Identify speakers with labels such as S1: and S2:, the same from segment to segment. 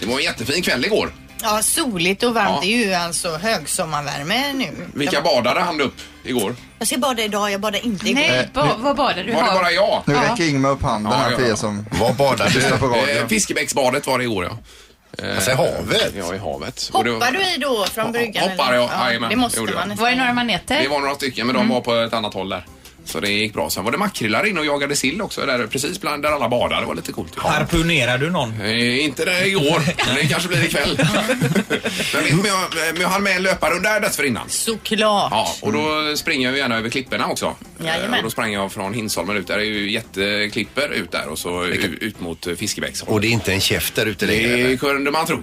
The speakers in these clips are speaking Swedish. S1: Det var en jättefin kväll igår.
S2: Ja, soligt och varmt.
S1: Ja.
S2: Det är ju alltså högsommarvärme nu.
S1: Vilka badare hann du upp igår?
S3: Jag ska bada idag, jag badar inte igår.
S1: Eh,
S4: Nej, ba, vad badar du?
S1: Var det
S4: Har-
S1: bara jag?
S5: Nu räcker Ingmar upp handen
S1: Ja,
S5: här
S1: ja,
S5: för
S1: ja.
S5: er som
S6: Vad badar
S5: lyssnar på
S6: du?
S1: Eh,
S5: radio.
S1: Fiskebäcksbadet var det igår ja.
S6: Alltså i havet?
S1: Ja, i havet. Och det var-
S2: Hoppar du i då från bryggan?
S1: hoppar
S2: eller?
S1: jag. Jajamän,
S2: det måste
S1: gjorde jag.
S2: man
S4: Var det
S2: nästan.
S4: några
S1: Det
S4: maneter?
S1: var några stycken men de var på ett annat håll där. Så det gick bra. Sen var det makrillar inne och jagade sill också där precis bland där alla badade. Det var lite coolt.
S7: Harpunerar du någon?
S1: Eh, inte det igår, men det kanske blir ikväll. men visst, men jag, men jag hann med en löparrunda dessförinnan.
S2: Såklart.
S1: Ja, och då springer jag ju gärna över klipporna också.
S2: Jajamän.
S1: Eh, Och då sprang jag från Hinsholmen ut. Där är ju jätteklippor ut där och så u- ut mot eh, Fiskebäcksholmen.
S6: Och det är inte en käft där ute längre?
S1: Det
S6: eller?
S1: kunde man tro.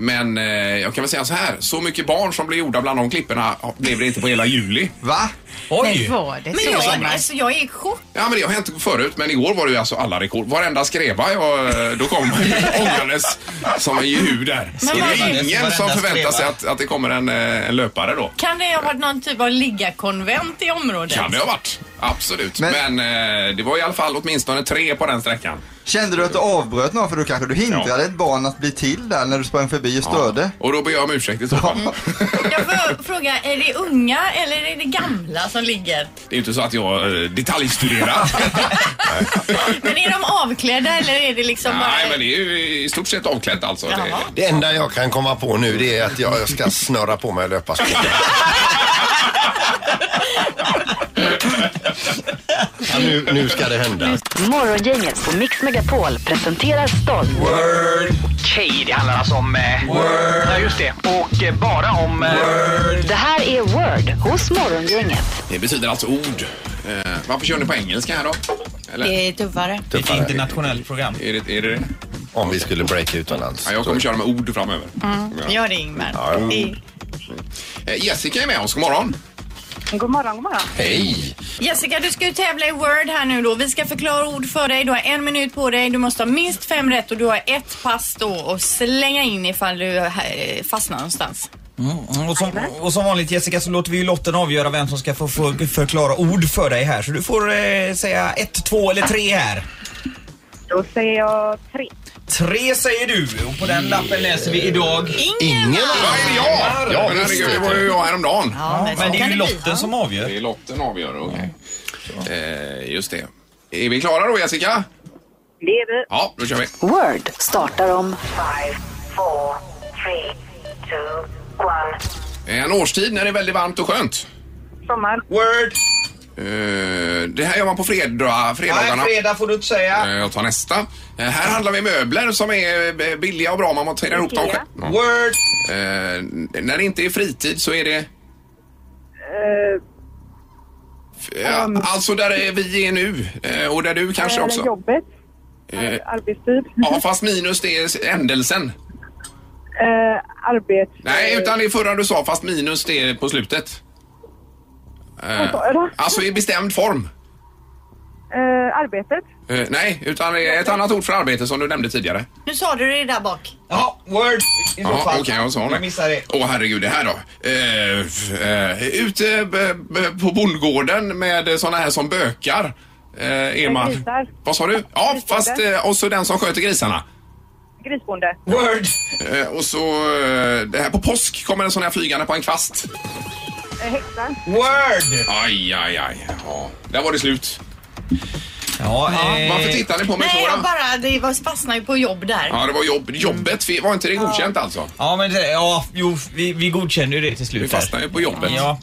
S1: Men eh, jag kan väl säga så här, så mycket barn som blev gjorda bland de klipporna ja, blev det inte på hela juli.
S5: Va?
S7: Oj!
S4: Nej, var det
S2: Men jag,
S4: så?
S2: alltså, jag är i chock.
S1: Ja men det har hänt förut men igår var det ju alltså alla rekord. Varenda skreva jag, eh, då kom man ju ångandes som en jehu där. Så det
S2: vad-
S1: är ingen som
S7: Varenda
S1: förväntar
S7: skreva.
S1: sig att, att det kommer en, eh, en löpare då.
S2: Kan det ha varit någon typ av liggakonvent i området?
S1: Kan det ha varit. Absolut. Men,
S5: Men-
S1: eh, det var i alla fall åtminstone tre på den sträckan.
S5: Kände du att du avbröt någon för då kanske du hindrade ett barn att bli till där när du sprang förbi och störde?
S1: Och då ber jag om ursäkt i så fall.
S2: Jag får fråga, är det unga eller är det gamla som ligger?
S1: Det är ju inte så att jag eh, detaljstuderar.
S2: Men är de avklädda eller är det liksom
S1: Nej
S2: bara...
S1: men det är ju i stort sett avklätt alltså. Det,
S2: Jaha.
S6: Det enda jag kan komma på nu det är att jag jag ska snöra på mig löparskor. Ja, nu, nu ska det hända.
S8: Morgongänget på Mix Megapol presenterar stolt.
S9: Okej, det handlar alltså om... Eh, Ja, just det. Och eh, bara om... Eh,
S8: Det här är Word hos Morgongänget.
S1: det betyder alltså ord. Eh, varför kör ni på engelska här då?
S3: Eh.
S1: Eller?
S2: är tuffare.
S7: Det är Ett internationellt program.
S1: Är det, är det det?
S6: Om vi skulle breaka utomlands.
S1: Ja, jag kommer köra med ord framöver.
S3: Mm.
S2: Gör det Ingmar. Det-
S1: Eh, Jessica är med oss, god morgon.
S3: God morgon, god morgon.
S6: Hej!
S2: Jessica, du ska ju tävla i Word här nu då. Vi ska förklara ord för dig. Du har en minut på dig. Du måste ha minst fem rätt och du har ett pass då att slänga in ifall du eh, fastnar någonstans.
S7: Mm, Och som, och som vanligt Jessica så låter vi ju lotten avgöra vem som ska få få- förklara ord för dig här. Så du får eh, säga ett, två eller tre här.
S3: Då säger jag tre.
S7: Tre säger du och på den lappen läser vi idag.
S6: Ingen
S1: Ja, är det jag?
S6: Ja,
S1: Men
S6: visst,
S1: herregud, det
S6: vet
S1: var
S6: du.
S1: ju jag häromdagen.
S2: Ja,
S7: Men det är ju
S2: bli.
S7: lotten som avgör.
S1: Det är lotten avgör, okej. Eh, just det. Är vi klara då Jessica?
S3: Det är vi.
S1: Ja, då kör vi.
S8: Word startar om
S1: Eh, En årstid när det är väldigt varmt och skönt.
S3: Sommar.
S7: Word.
S1: Eh, det här gör man på fredag,
S7: Nej,
S1: fredagarna.
S7: fredag får du inte säga.
S1: Eh, Jag tar nästa. Eh, Här handlar vi möbler som är eh, billiga och bra. Man monterar ihop dem själv. Ja.
S7: Word.
S1: Eh, När det inte är fritid så är det...
S3: Eh, um,
S1: eh, Alltså där är vi är nu eh, och där du kanske
S3: eller
S1: också.
S3: Jobbet.
S1: Eh,
S3: Arbetstid.
S1: Ja, fast minus det är ändelsen.
S3: Eh, arbets...
S1: Nej, utan det är förra du sa fast minus det är på slutet. Eh,
S3: sa jag då?
S1: Alltså i bestämd form.
S3: Eh, arbetet.
S1: Eh, Nej, utan det är ett annat ord för arbete som du nämnde tidigare.
S2: Nu sa du det där bak.
S7: Ja, word. I så
S1: Ja,
S7: fall.
S1: okej, jag sa
S7: Jag missade det.
S1: Åh herregud, det här då. Eh, f- eh, ute b- b- på bondgården med såna här som bökar. Eh, är man...
S3: grisar.
S1: Vad sa du? Ja,
S3: Grisar.
S1: fast eh, och så den som sköter grisarna.
S3: Grisbonde.
S7: Word.
S1: Eh, och så eh, det här på påsk kommer en sån här flygande på en kvast.
S3: Eh, häxan.
S7: Word.
S1: Aj, aj, aj. Ja, där var det slut.
S7: Ja, eh,
S1: Varför tittar ni på mig
S2: Nej,
S1: så
S2: jag
S1: då?
S2: bara, det var, fastnade ju på jobb där.
S1: Ja, det var jobb, jobbet. fe- Var inte det godkänt alltså?
S7: Ja, men det, ja, jo, vi, vi godkände ju det till slut.
S1: Vi
S7: där.
S1: fastnade ju på jobbet.
S7: Ja.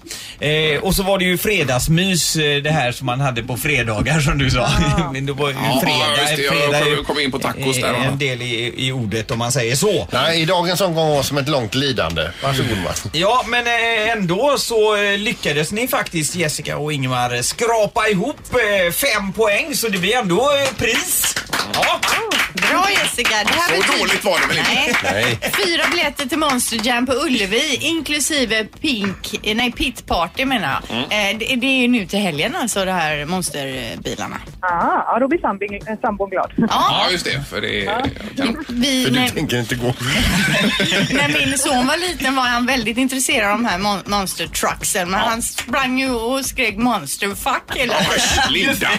S7: Eh, och så var det ju fredagsmys eh, det här som man hade på fredagar som du sa. Men det var ju
S1: Ja,
S7: fredag.
S1: just det. Jag
S7: fredag är ju,
S1: kom- kom in på tacos där, va?
S7: eh, En del i, i ordet om man säger så.
S6: Nej, i dagens omgång var som ett långt lidande. Varsågod Mats.
S7: Ja, men eh, ändå så eh, lyckades ni faktiskt Jessica och Ingmar eh, skrapa ihop eh, fem poäng så det blir ändå eh, pris. Ja.
S2: Bra Jessica. Det här
S1: Så dåligt var det väl inte?
S2: Nej.
S6: Nej.
S2: Fyra biljetter till Monster Jam på Ullevi inklusive Pink, eh, nej Pit Party menar jag. Eh, det, det är ju nu till helgen alltså det här monsterbilarna.
S3: Ah, ja, då blir sambing, eh, sambon glad.
S1: Ja, just det. För det är kanon.
S2: Vi,
S6: För du
S2: när,
S6: tänker inte gå.
S2: när min son var liten var han väldigt intresserad av de här mon- monster trucksen men han sprang ju och skrek monster fuck hela tiden.
S1: Linda!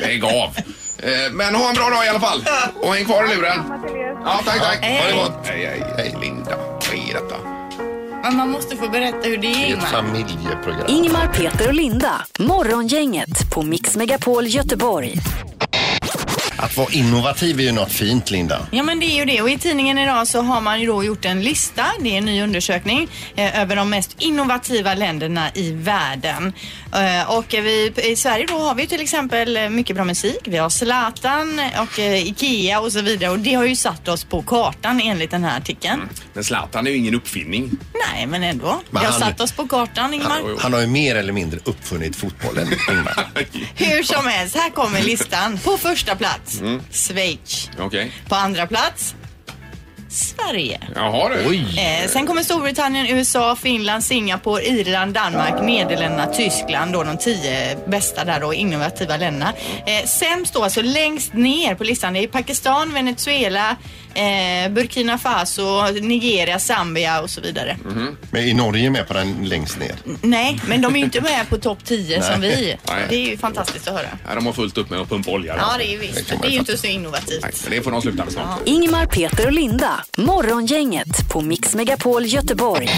S1: Lägg av! Eh, Men ha en bra dag i alla fall. Och häng kvar i luren.
S3: Samma till er.
S1: Ja, tack, tack.
S2: Hej.
S1: Ha det gott. Hej, hej, hej, Linda. Vad är detta?
S2: Men man måste få berätta hur det är
S6: Det är ett
S2: Ingmar.
S6: familjeprogram.
S8: Ingmar, Peter och Linda. Morgongänget på Mix Megapol Göteborg.
S6: Att vara innovativ är ju något fint, Linda.
S2: Ja men det är ju det och i tidningen idag så har man ju då gjort en lista, det är en ny undersökning, eh, över de mest innovativa länderna i världen. Eh, och vi, i Sverige då har vi ju till exempel eh, mycket bra musik, vi har Zlatan och eh, Ikea och så vidare och det har ju satt oss på kartan enligt den här artikeln.
S1: Men Zlatan är ju ingen uppfinning.
S2: Nej men ändå,
S6: Mm. Men
S2: det har
S6: han-
S2: satt oss på kartan Ingmar.
S1: jo.
S6: Han har ju mer eller mindre uppfunnit fotbollen, Ingmar.
S2: Hur som helst, här kommer listan. På första plats, Schweiz.
S1: Okej.
S2: På andra plats, Sverige.
S1: Jaha du.
S6: Oj!
S2: Eh, sen kommer Storbritannien, USA, Finland, Singapore, Irland, Danmark, Nederländerna, Tyskland. Då, de tio bästa där då, innovativa länderna. Eh, sämst då, alltså längst ner på listan, det är Pakistan, Venezuela, eh, Burkina Faso, Nigeria, Zambia och så vidare.
S6: Men är Norge med på den längst ner?
S1: Mm-hmm.
S2: Nej, men de är ju inte med på topp 10 som vi.
S1: Nej.
S2: Det är ju fantastiskt att höra.
S1: Nej, de har fullt upp med att pumpa olja.
S2: Ja, det är ju visst.
S6: kan man
S2: Det är ju
S6: fatta.
S2: inte så innovativt.
S1: Nej, men det får de sluta med snart.
S8: Ingmar, Peter och Linda. Morgongänget på Mix Megapol Göteborg.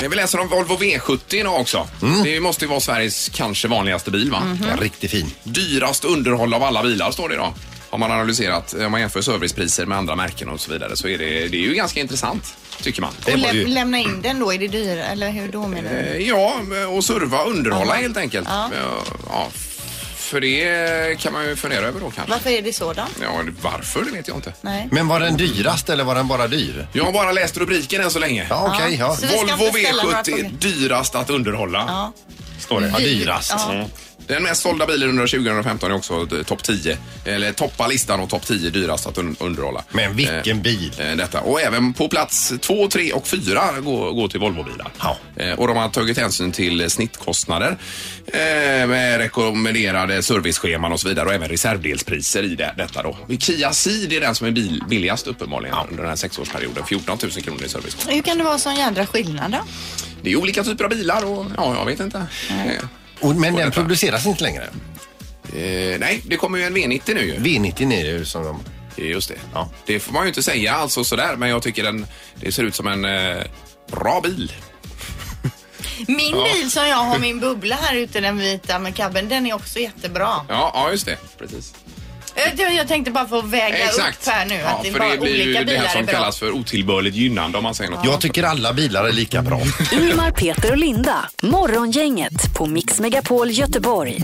S1: Men vi läser om Volvo V70 idag också. Det måste ju vara Sveriges kanske vanligaste bil va?
S2: Mhm.
S6: Ja, riktigt fin.
S1: Dyrast underhåll av alla bilar står det idag. Har man analyserat, eh, om man jämför servicepriser med andra märken och så vidare så är det, det är ju ganska intressant, tycker man.
S6: Det
S2: Och
S6: var
S2: läm-
S6: ju...
S2: lämna in den då, är det dyrare? Eller hur då menar du?
S1: Eh, Ja, och serva och underhålla
S2: Ja.
S1: helt enkelt.
S2: Ja.
S1: Eh, Ja, för det kan man ju fundera över då kanske.
S2: Varför är det så då?
S1: Ja, varför det vet jag inte.
S2: Nej.
S6: Men var den dyrast eller var den bara dyr?
S1: Jag har bara läst rubriken än så länge.
S6: Ja, okej. ja.
S2: Så vi ska
S1: Volvo
S2: inte ställa några frågor.
S1: V70 dyrast att underhålla.
S2: Ja.
S1: Står det. Mm.
S6: Ja, dyrast.
S2: Ja.
S1: Den mest sålda bilen under 2015 är också eh, topp 10. Eller toppa listan och topp 10 dyrast att un- underhålla.
S6: Men vilken
S1: Eh,
S6: bil.
S1: eh, Detta. Och även på plats 2, 3 och 4 går, går till Volvobilar.
S6: Ja.
S1: Eh, Och de har tagit hänsyn till eh, snittkostnader eh, med rekommenderade servicescheman och så vidare och även reservdelspriser i det, detta då. Kia Ceed är den som är bil, billigast uppenbarligen under den här sexårsperioden. 14 000 kronor i service.
S2: Hur kan det vara sån jädra skillnad då?
S1: Det är olika typer av bilar och ja, jag vet inte. Eh,
S6: Och, men den
S1: detta.
S6: produceras inte längre.
S1: Eh, nej, det kommer ju en V90 nu ju.
S6: V90 är det ju som de...
S1: Just det.
S6: Ja.
S1: Det får man ju inte säga alltså sådär, men jag tycker den, det ser ut som en eh, bra bil.
S2: Min bil som jag har min bubbla här ute, den vita med kabben, den är också jättebra.
S1: Ja, ja just det. Precis.
S2: Jag, tror- jag tänkte bara få väga upp här nu att det är bara olika
S1: det här
S2: bilar är
S1: som
S2: bra.
S1: kallas för otillbörligt gynnande om man säger något.
S6: Jag tycker alla bilar är lika bra.
S2: Mm.
S8: Ingmar, Peter och Linda. Morgongänget på Mix Megapol Göteborg.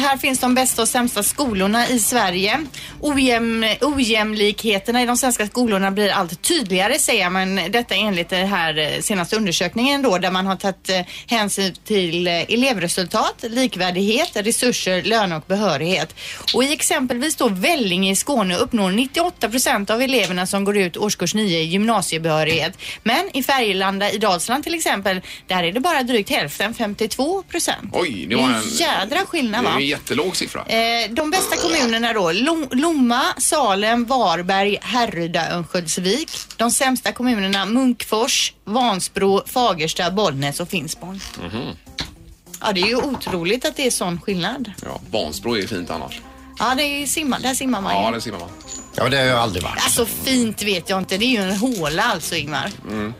S2: Här finns de bästa och sämsta skolorna i Sverige. Ojäm, ojämlikheterna i de svenska skolorna blir allt tydligare säger man. Detta enligt den här eh, senaste undersökningen då där man har tagit eh, hänsyn till eh, elevresultat, likvärdighet, resurser, lön och behörighet. Och i exempelvis då Vellinge i Skåne uppnår 98 procent av eleverna som går ut årskurs 9 gymnasiebehörighet. Men i Färgelanda i Dalsland till exempel, där är det bara drygt hälften, 52 procent.
S1: Oj, det var en...
S2: jädra skillnad
S1: det
S2: va?
S1: är en jättelåg siffra.
S2: Eh, de bästa kommunerna då, Lom- Lomma, Salem, Varberg, Härryda, Örnsköldsvik. De sämsta kommunerna, Munkfors, Vansbro, Fagersta, Bollnäs och Finspång.
S1: Mhm.
S2: Ja, det är ju otroligt att det är sån skillnad.
S1: Ja, Vansbro är fint annars.
S2: Ja, det är simma, där simmar man ju.
S1: Ja, det simmar man.
S6: Ja, det har jag aldrig varit.
S2: Alltså fint vet jag inte, det är ju en håla alltså Ingmar.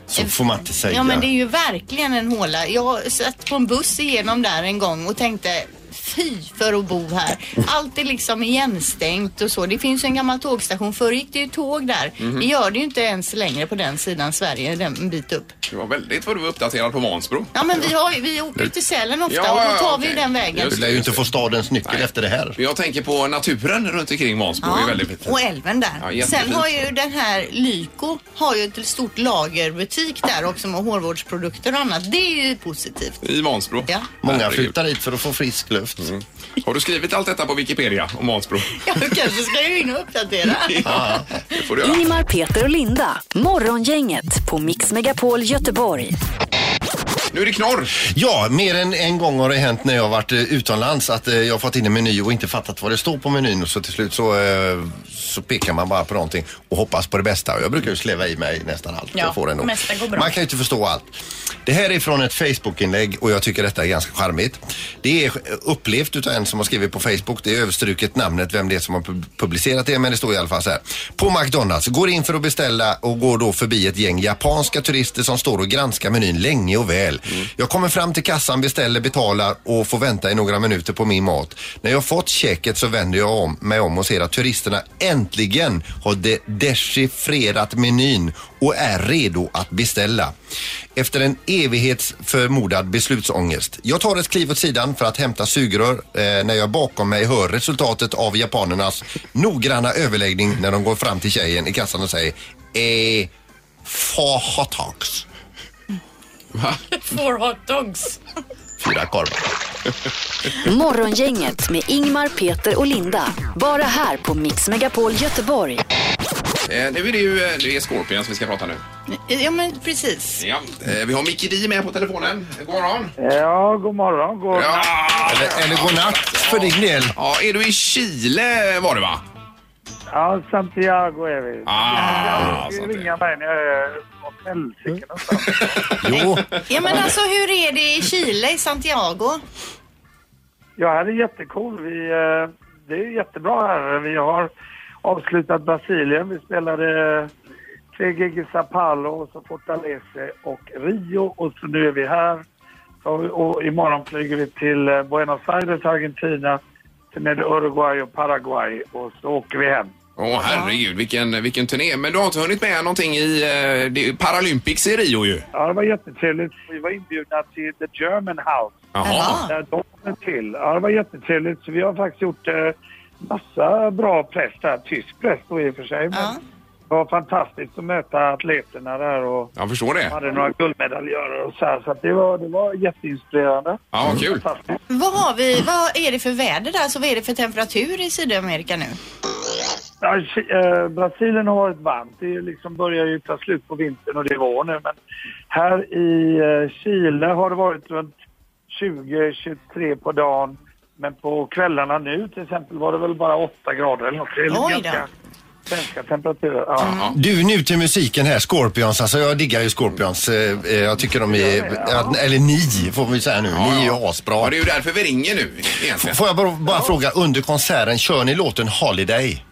S6: Så får man inte säga.
S2: Ja men det är ju verkligen en håla. Jag satt på en buss igenom där en gång och tänkte fy för att bo här. Allt är liksom igenstängt och så. Det finns ju en gammal tågstation. Förr gick det ju tåg där.
S1: Mhm.
S2: Det gör det ju inte ens längre på den sidan Sverige, den en bit upp.
S1: Det var väldigt vad du var uppdaterad på Vansbro.
S2: Ja men vi, har, ju- vi åker ju till Sälen ofta
S1: Ja,
S2: och då
S1: ja,
S2: tar vi ju
S1: okej.
S2: den vägen.
S1: Just
S6: Du lär ju inte få stadens nyckel efter det här.
S1: Jag tänker på naturen runt omkring Vansbro. Det är väldigt fint.
S2: och älven där.
S1: Ja, jättefint.
S2: Sen har ju den här Lyko har ju ett stort lagerbutik där också med hårvårdsprodukter och annat. Det är ju positivt.
S1: I Vansbro.
S2: Ja.
S6: Många
S1: Herregud. Mm.
S6: flyttar hit för att få frisk luft.
S1: Har du skrivit allt detta på Wikipedia om Vansbro?
S2: Jag kanske ska ju in och uppdatera.
S1: Ja, det får du göra.
S8: Ingmar, Peter och Linda. Morgongänget på Mix Megapol Göteborg.
S1: Nu är det knorr.
S6: Ja, mer än en gång har det hänt när jag har varit eh, utomlands att eh, jag har fått in en meny och inte fattat vad det står på menyn och så till slut så, eh, så pekar man bara på någonting och hoppas på det bästa. Och Jag brukar ju sleva i mig nästan allt
S4: Ja,
S6: jag får ändå.
S4: mesta går bra.
S6: Man kan ju inte förstå allt. Det här är från ett Facebook-inlägg och jag tycker detta är ganska charmigt. Det är eh, upplevt utav en som har skrivit på Facebook. Det är överstruket namnet, vem det är som har pub- publicerat det, men det står i alla fall så här. På McDonalds, går in för att beställa och går då förbi ett gäng japanska turister som står och granskar menyn länge och väl. Jag kommer fram till kassan, beställer, betalar och får vänta i några minuter på min mat. När jag fått checket så vänder jag om, mig om och ser att turisterna äntligen har de dechiffrerat menyn och är redo att beställa. Efter en evighets förmodad beslutsångest. Jag tar ett kliv åt sidan för att hämta sugrör eh, när jag bakom mig hör resultatet av japanernas noggranna överläggning när de går fram till tjejen i kassan och säger eh, four hot dogs.
S4: Four hot dogs.
S6: Fyra korvar.
S8: Morgongänget med Ingmar, Peter och Linda. Bara här på Mix Megapol Göteborg.
S1: Eh, nu är det ju eh, det är Scorpion som vi ska prata nu.
S2: Ja, men precis.
S1: Ja. Eh, vi har Micke Di med på telefonen. God morgon.
S10: Ja, god morgon. God...
S1: Ja.
S6: Eller, eller godnatt för din del.
S1: ja, är du i Chile var du va?
S10: Ja, Santiago är vi.
S1: Ah,
S10: Du
S1: sånt där.
S10: ringer mig när jag är åt helsike någonstans.
S6: Jo,
S2: Ja, men alltså hur är det i Chile, i Santiago?
S10: Ja, här är jättecool. Vi, eh, det är jättebra här. Vi har avslutat Brasilien. Vi spelade eh, tre gig i Sao Paulo, och så Fortaleza och Rio och så nu är vi här. Och, och imorgon flyger vi till eh, Buenos Aires, Argentina. Sen är det Uruguay och Paraguay och så åker vi hem.
S1: Åh herregud, vilken, vilken turné. Men du har inte hunnit med någonting i eh, det är ju Paralympics i Rio ju.
S10: Ja, det var jättetrevligt. Vi var inbjudna till The German House.
S1: Jaha.
S10: Där Eh, de är till. Ja, det var jättetrevligt. Så vi har faktiskt gjort eh, massa bra press där. Tysk press då i och för sig. Men
S2: Ja.
S10: Det var fantastiskt att möta atleterna där och
S1: Jag förstår det.
S10: hade några guldmedaljörer och så här. Så att det, var, det var jätteinspirerande.
S1: Ja, vad kul.
S10: Fantastiskt.
S2: Vad, har vi, vad är det för väder där? Så vad är det för temperatur i Sydamerika nu?
S10: Ja, Ki- eh, Brasilien har varit varmt. Det är liksom börjar ju ta slut på vintern och det är vår nu. Men här i eh, Chile har det varit runt 20-23 på dagen. Men på kvällarna nu till exempel var det väl bara 8 grader eller något. Det är
S2: Oj då. Mm.
S10: ganska svenska temperaturer. Ja.
S6: du nu till musiken här, Scorpions. Alltså jag diggar ju Scorpions. Eh, eh, jag tycker de är, att- eller ni får vi säga nu, ni är ju
S1: Ja,
S6: asbra.
S1: det är ju därför vi ringer nu egentligen.
S6: Får jag bara, bara fråga, under konserten, kör ni låten Holiday?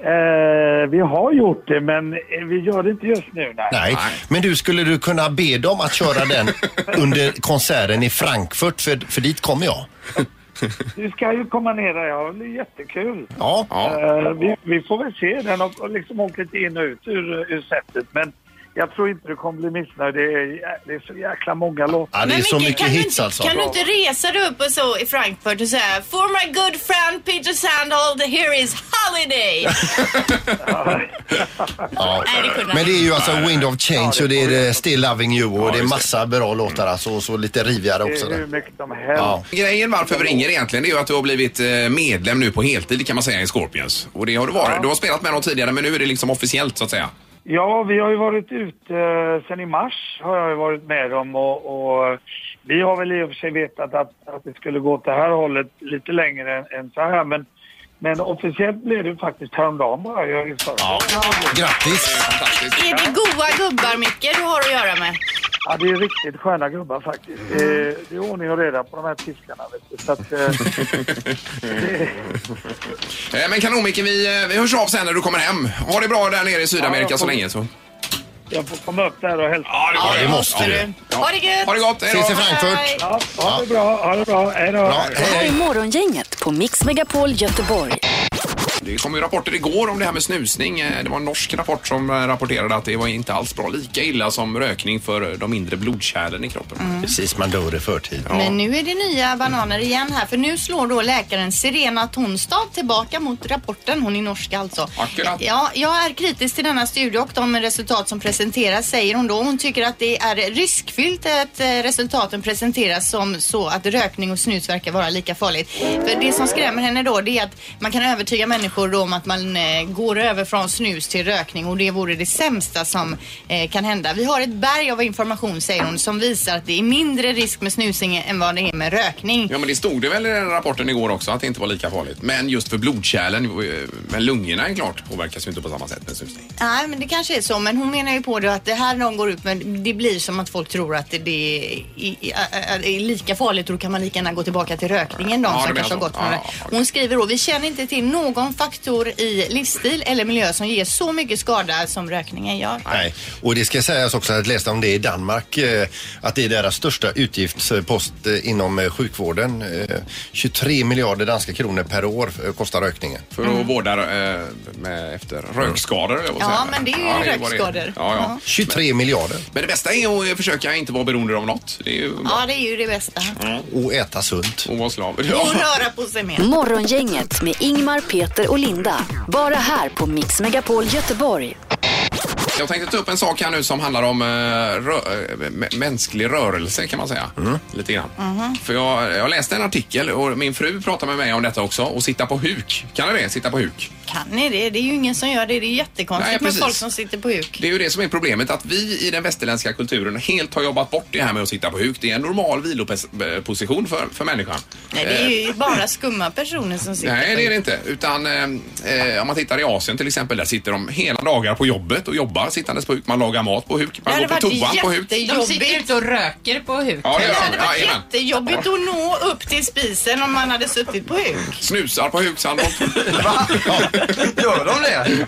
S10: Eh, vi har gjort det men eh, vi gör det inte just nu. Nej.
S6: Nej.
S1: Nej.
S6: Men du, skulle du kunna be dem att köra den under konserten i Frankfurt? För, för dit kommer jag.
S10: Du ska ju komma ner där. Ja, det blir jättekul.
S6: Ja.
S1: Ja.
S10: Eh, vi, vi får väl se. Den har har liksom åkt lite in och ut ur, ur sättet. Men jag tror inte du kommer bli missnöjd. Det är, jä- det är så jäkla många låtar.
S6: Ja, det är
S2: Men
S6: så
S2: Micke,
S6: mycket
S2: kan du
S6: hits
S2: inte-
S6: alltså.
S2: Kan du inte resa dig upp och så i Frankfurt och säga For my good friend Peter Sandhold, here is holiday.
S6: Ja.
S4: Nej, det kunde
S6: Men det
S4: han.
S6: är ju alltså Wind of Change och det är eh, Still Loving You och det är massa bra låtar alltså och så lite rivigare
S10: Det
S6: också.
S10: är
S6: Där.
S10: hur mycket som helst.
S6: Ja.
S1: Grejen varför vi ringer egentligen det är ju att du har blivit eh, medlem nu på heltid kan man säga i Scorpions. Och det har du varit. Du har spelat med dem tidigare men nu är det liksom officiellt så att säga.
S10: Ja, vi har ju varit ute eh, sen i mars har jag ju varit med dem och, och vi har väl i och för sig vetat att, att det skulle gå åt det här hållet lite längre än, än så här. Men, men officiellt blev det faktiskt häromdagen bara. Jag är så-
S6: Ja. Grattis!
S1: Fantastiskt.
S2: är det goa gubbar Micke du har att göra med?
S10: Ja, det är riktigt sköna gubbar faktiskt. Det är, det är ordning och reda på de här fiskarna. Vet du. Så att, eh, det,
S1: Eh, Men kanon Micke, vi, eh, vi hörs av sen när du kommer hem. Ha det bra där nere i Sydamerika så länge så.
S10: jag får komma upp där och hälsa.
S1: Ja,
S6: det måste du.
S2: Ha det gött!
S1: Ha det gott, hej då.
S6: Ses i Frankfurt!
S2: Hej.
S10: Ja, ha det bra, ha det bra. Hej då.
S6: Ja,
S8: Det
S6: hej,
S8: här är
S6: hej.
S8: Morgongänget på Mix Megapol Göteborg.
S1: Det kom ju rapporter igår om det här med snusning. Eh, Det var en norsk rapport som eh, rapporterade att det var inte alls bra. Lika illa som rökning för eh, de mindre blodkärlen i kroppen.
S2: Mm.
S6: Precis, man dör i förtid.
S2: Men nu är det nya bananer igen här för nu slår då läkaren Serena Tonstad tillbaka mot rapporten. Hon är norska alltså.
S1: Akkurat.
S2: Ja, jag är kritisk till denna studie och de resultat som presenteras säger hon då. Hon tycker att det är riskfyllt att eh, resultaten presenteras som så att rökning och snus verkar vara lika farligt. För det som skrämmer henne då det är att man kan övertyga människor människor då om att man eh, går över från snus till rökning och det vore det sämsta som eh, kan hända. Vi har ett berg av information säger hon som visar att det är mindre risk med snusning än vad det är med rökning.
S1: Ja men det stod det väl i den rapporten igår också att det inte var lika farligt. Men just för blodkärlen, eh, men lungorna är klart påverkas ju inte på samma sätt med snusning.
S2: Nej, men det kanske är så. Men hon menar ju på det att det här någon går ut men det blir som att folk tror att det, det är, i- ä- ä- är lika farligt och då kan man lika gärna gå tillbaka till rökningen de
S1: Ja, det
S2: som
S1: menar
S2: kanske har
S1: så.
S2: gått från
S1: Ja,
S2: det. Hon skriver då, vi känner inte till någon faktor i livsstil eller miljö som ger så mycket skada som rökningen gör.
S6: Nej, och det ska sägas också att jag läste om det i Danmark eh, att det är deras största utgiftspost eh, inom eh, sjukvården. Eh, 23 miljarder danska kronor per år eh, kostar rökningen.
S1: För att vårda eh, med, efter rökskador. höll jag på att
S2: Mm. Ja,
S1: säga.
S2: men det är ju
S1: vad
S2: rökskador.
S1: Ja, ja.
S6: 23 miljarder
S1: Men det bästa är att eh, försöka inte vara beroende av något. Det är ju bra.
S2: Ja, det är ju det bästa.
S1: Mm.
S6: och äta sunt.
S1: Och vara slav.
S2: Och
S1: Ja.
S2: röra på sig mer.
S8: Morgongänget med Ingmar, Peter och Linda. Bara här på Mix Megapol Göteborg.
S1: Jag tänkte ta upp en sak här nu som handlar om eh, rö- eh, mä- mänsklig rörelse kan man säga. Lite grann.
S2: Mm-hmm.
S1: För jag, jag läste en artikel och min fru pratade med mig om detta också. Och sitta på huk. Kan det det? Sitta på huk.
S2: Kan ni det? Det är ju ingen som gör det. Det är
S1: Nej,
S2: jättekonstigt med
S1: precis.
S2: folk som sitter på huk.
S1: Det är ju det som är problemet att vi i den västerländska kulturen helt har jobbat bort det här med att sitta på huk. Det är en normal viloposition för, för människan.
S2: Nej, det är ju bara skumma personer som sitter
S1: Eh. Nej,
S2: på
S1: det är
S2: huk.
S1: det inte. Utan eh, eh, om man tittar i Asien till exempel, där sitter de hela dagar på jobbet och jobbar sittandes på huk. Man lagar mat på huk,
S2: Det
S1: man går
S2: hade
S1: på toan
S2: varit
S1: på huk.
S4: De
S2: jättejobbigt.
S4: sitter ute och röker på huk. Typ.
S1: Ja, det
S2: Det
S1: gör
S2: hade
S1: de.
S2: varit
S1: Jajamän.
S2: jättejobbigt att nå upp till spisen om man hade suttit på huk.
S1: Snusar på huk, sandboll.
S5: Gör de det?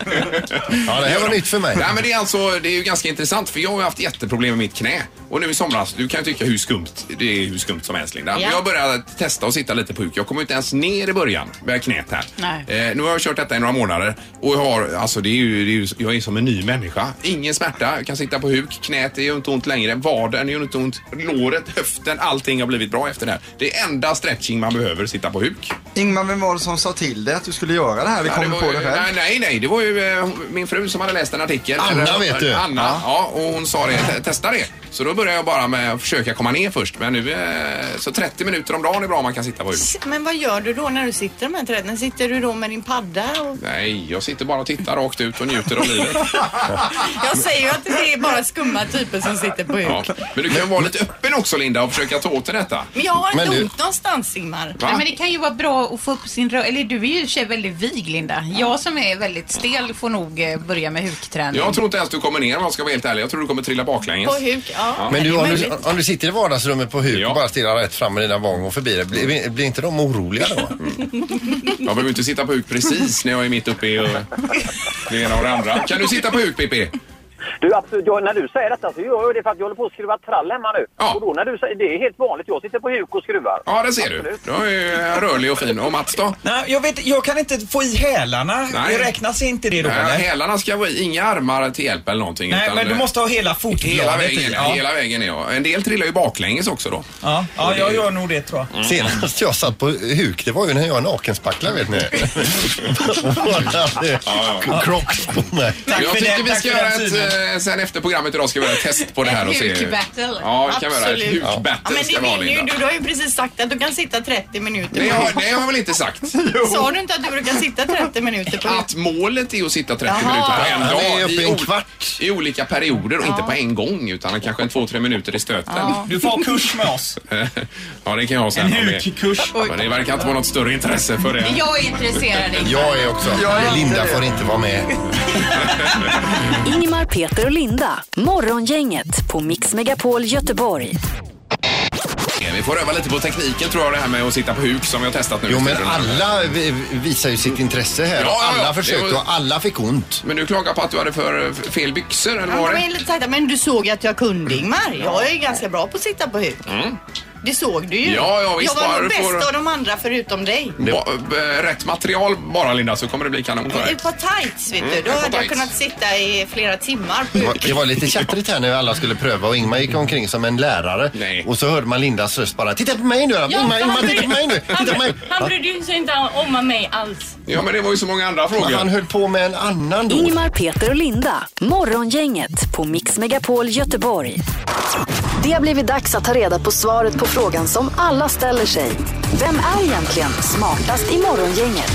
S6: Ja, det här var nytt för mig.
S1: Nej, men det är alltså, det är ju ganska intressant för jag har ju haft jätteproblem med mitt knä. Och nu i somras, du kan ju tycka hur skumt, det är hur skumt som helst Linda.
S2: Ja.
S1: Men Jag började testa att sitta lite på huk. Jag kom ju inte ens ner i början med knät här.
S2: Nej.
S1: Eh, nu har jag kört detta i några månader och jag har, alltså det är ju, det är ju, jag är som en ny människa. Ingen smärta, jag kan sitta på huk, knät är ju inte ont längre, vaden är ju inte ont, låret, höften, allting har blivit bra efter det här. Det är enda stretching man behöver, sitta på huk.
S5: Ingmar, vem var det som sa till dig att du skulle göra det här? Vi
S1: Ja, det
S5: kommer
S1: var
S5: på
S1: ju-
S5: det själv.
S1: Nej, nej, nej, det var ju eh, min fru som hade läst en artikel.
S6: Anna
S1: Eller- eh,
S6: vet du.
S1: Anna, ja. Och hon sa det, "Te- testa det. Så då började jag bara med att försöka komma ner först. Men nu, eh, så 30 minuter om dagen är bra om man kan sitta på huk.
S2: Men vad gör du då när du sitter med träden? Sitter du då med din padda? Och...
S1: Nej, jag sitter bara och tittar rakt ut och njuter av livet.
S2: Jag säger ju att det är bara skumma typer som sitter på
S1: Ja.
S2: huk.
S1: Men du kan ju vara lite öppen också Linda och försöka ta åt dig detta.
S2: Men jag har
S6: Men
S2: inte
S6: du-
S2: ont någonstans Ingmar.
S1: Va?
S4: Nej, men det kan ju vara bra att få upp sin rö... Eller du är ju i och för sig väldigt vig, Linda. Jag som är väldigt stel får nog eh, börja med hukträning.
S1: Jag tror inte ens du kommer ner om jag ska vara helt ärlig. Jag tror du kommer trilla baklänges.
S2: På huk, ja.
S6: Men du,
S2: det är
S6: om, du,
S2: möjligt.
S6: om du sitter i vardagsrummet på huk
S1: Ja.
S6: och bara stirrar rätt fram med dina vagn och förbi det, blir, blir inte de oroliga då?
S1: Jag behöver inte sitta på huk precis när jag är mitt uppe i eh, det ena och det andra. Kan du sitta på huk Pippi?
S9: Du, absolut, jag, när du säger detta så gör jag det för att jag håller på att skruva trall hemma nu.
S1: Ja.
S9: Och då när du säger, det är helt vanligt. Jag sitter på huk och skruvar.
S1: Ja, det ser du.
S9: Absolut.
S1: Då är jag rörlig och fin. Och Mats då?
S7: Nej, jag, vet, jag kan inte få i hälarna.
S1: Nej.
S7: Det räknas inte det då?
S1: Nej,
S7: Nej,
S1: hälarna ska vara i. Inga armar till hjälp eller någonting.
S7: Nej
S1: utan,
S7: men du
S1: eh,
S7: måste ha hela
S1: Hela
S7: fotbladet i.
S1: vägen,
S7: Ja.
S1: hela vägen ja. En del trillar ju baklänges också då.
S7: Ja. ja, jag gör nog det tror jag.
S1: Mm.
S6: Senast jag satt på huk, det var ju när jag nakenspacklade vet ni. Hon hade crocs på mig.
S7: Tack
S1: jag
S7: för
S1: tycker
S7: den-
S1: vi
S7: tack
S1: ska
S7: för
S1: göra
S7: den
S1: ett, eh, sen efter programmet idag ska vi göra ett test på det här och se.
S4: Ett huk-battle.
S1: Ja, det kan vi göra. Ett
S2: Absolut. Ja,
S1: huk-battle
S2: men
S1: ska vi ha
S2: det vinner ju
S1: Linda.
S2: du. Du har ju precis sagt att du kan sitta 30 minuter
S1: Nej,
S2: på
S1: jag,
S2: huk.
S1: nej, jag har väl inte sagt
S2: Sa du inte att du kan sitta 30 minuter på huk?
S1: att målet är att sitta 30
S2: Jaha.
S1: minuter på en
S6: Ja, vi
S1: dag
S6: är uppe
S1: i,
S6: i en
S1: ol-
S6: kvart.
S1: i olika perioder och inte på en gång utan kanske en två, tre minuter i stöten. Ja,
S7: Du får ha kurs med oss.
S1: det kan jag ha sen.
S7: En
S1: om det-
S7: hukkurs.
S1: Men det verkar inte vara något större intresse för det.
S4: Jag är intresserad. Ingmar.
S6: Jag är också. Linda får inte vara med.
S8: Ingmar, Peter och Linda. Morgongänget på Mix Megapol Göteborg.
S1: Eh, Vi får öva lite på tekniken tror jag det här med att sitta på huk som vi har testat nu.
S6: Jo men alla vi- visar ju sitt intresse här.
S1: Ja, ja, ja.
S6: Alla
S1: Det
S6: försökte
S1: var-
S6: och alla fick ont.
S1: Men du klagar på att du hade för f- fel byxor eller vad
S2: Ja,
S1: var
S2: de
S1: det?
S2: är lite tajta. Men du såg ju att jag kunde Ingmar. Jag är ganska bra på att sitta på huk. Det såg du ju.
S1: Mm. Ja, ja, visst,
S2: jag
S1: bara
S2: var
S1: du
S2: nog bäst
S1: får-
S2: av de andra förutom dig.
S1: Ba- b- Rätt material bara Linda så kommer det bli kanon för dig.
S2: Ett par tights vet du.
S1: Mm,
S2: Då
S1: ett par
S2: hade jag
S1: tights. Mm.
S2: kunnat sitta i flera timmar på
S6: Det
S2: huk.
S6: var- Det var lite tjattrigt här när alla skulle pröva och Ingmar gick omkring som en lärare.
S1: Nej.
S6: Och så hörde man Lindas röst bara Titta på mig nu! Ingmar,
S4: han
S6: Ingmar,
S4: bryr-
S6: titta på mig nu! Titta på mig!
S4: Han brydde sig inte om mig alls.
S1: Ja men det var ju så många andra frågor.
S6: Han höll på med en annan då.
S8: Ingmar, Peter och Linda. Morgongänget på Mix Megapol Göteborg. Det har blivit dags att ta reda på svaret på frågan som alla ställer sig. Vem är egentligen smartast i morgongänget?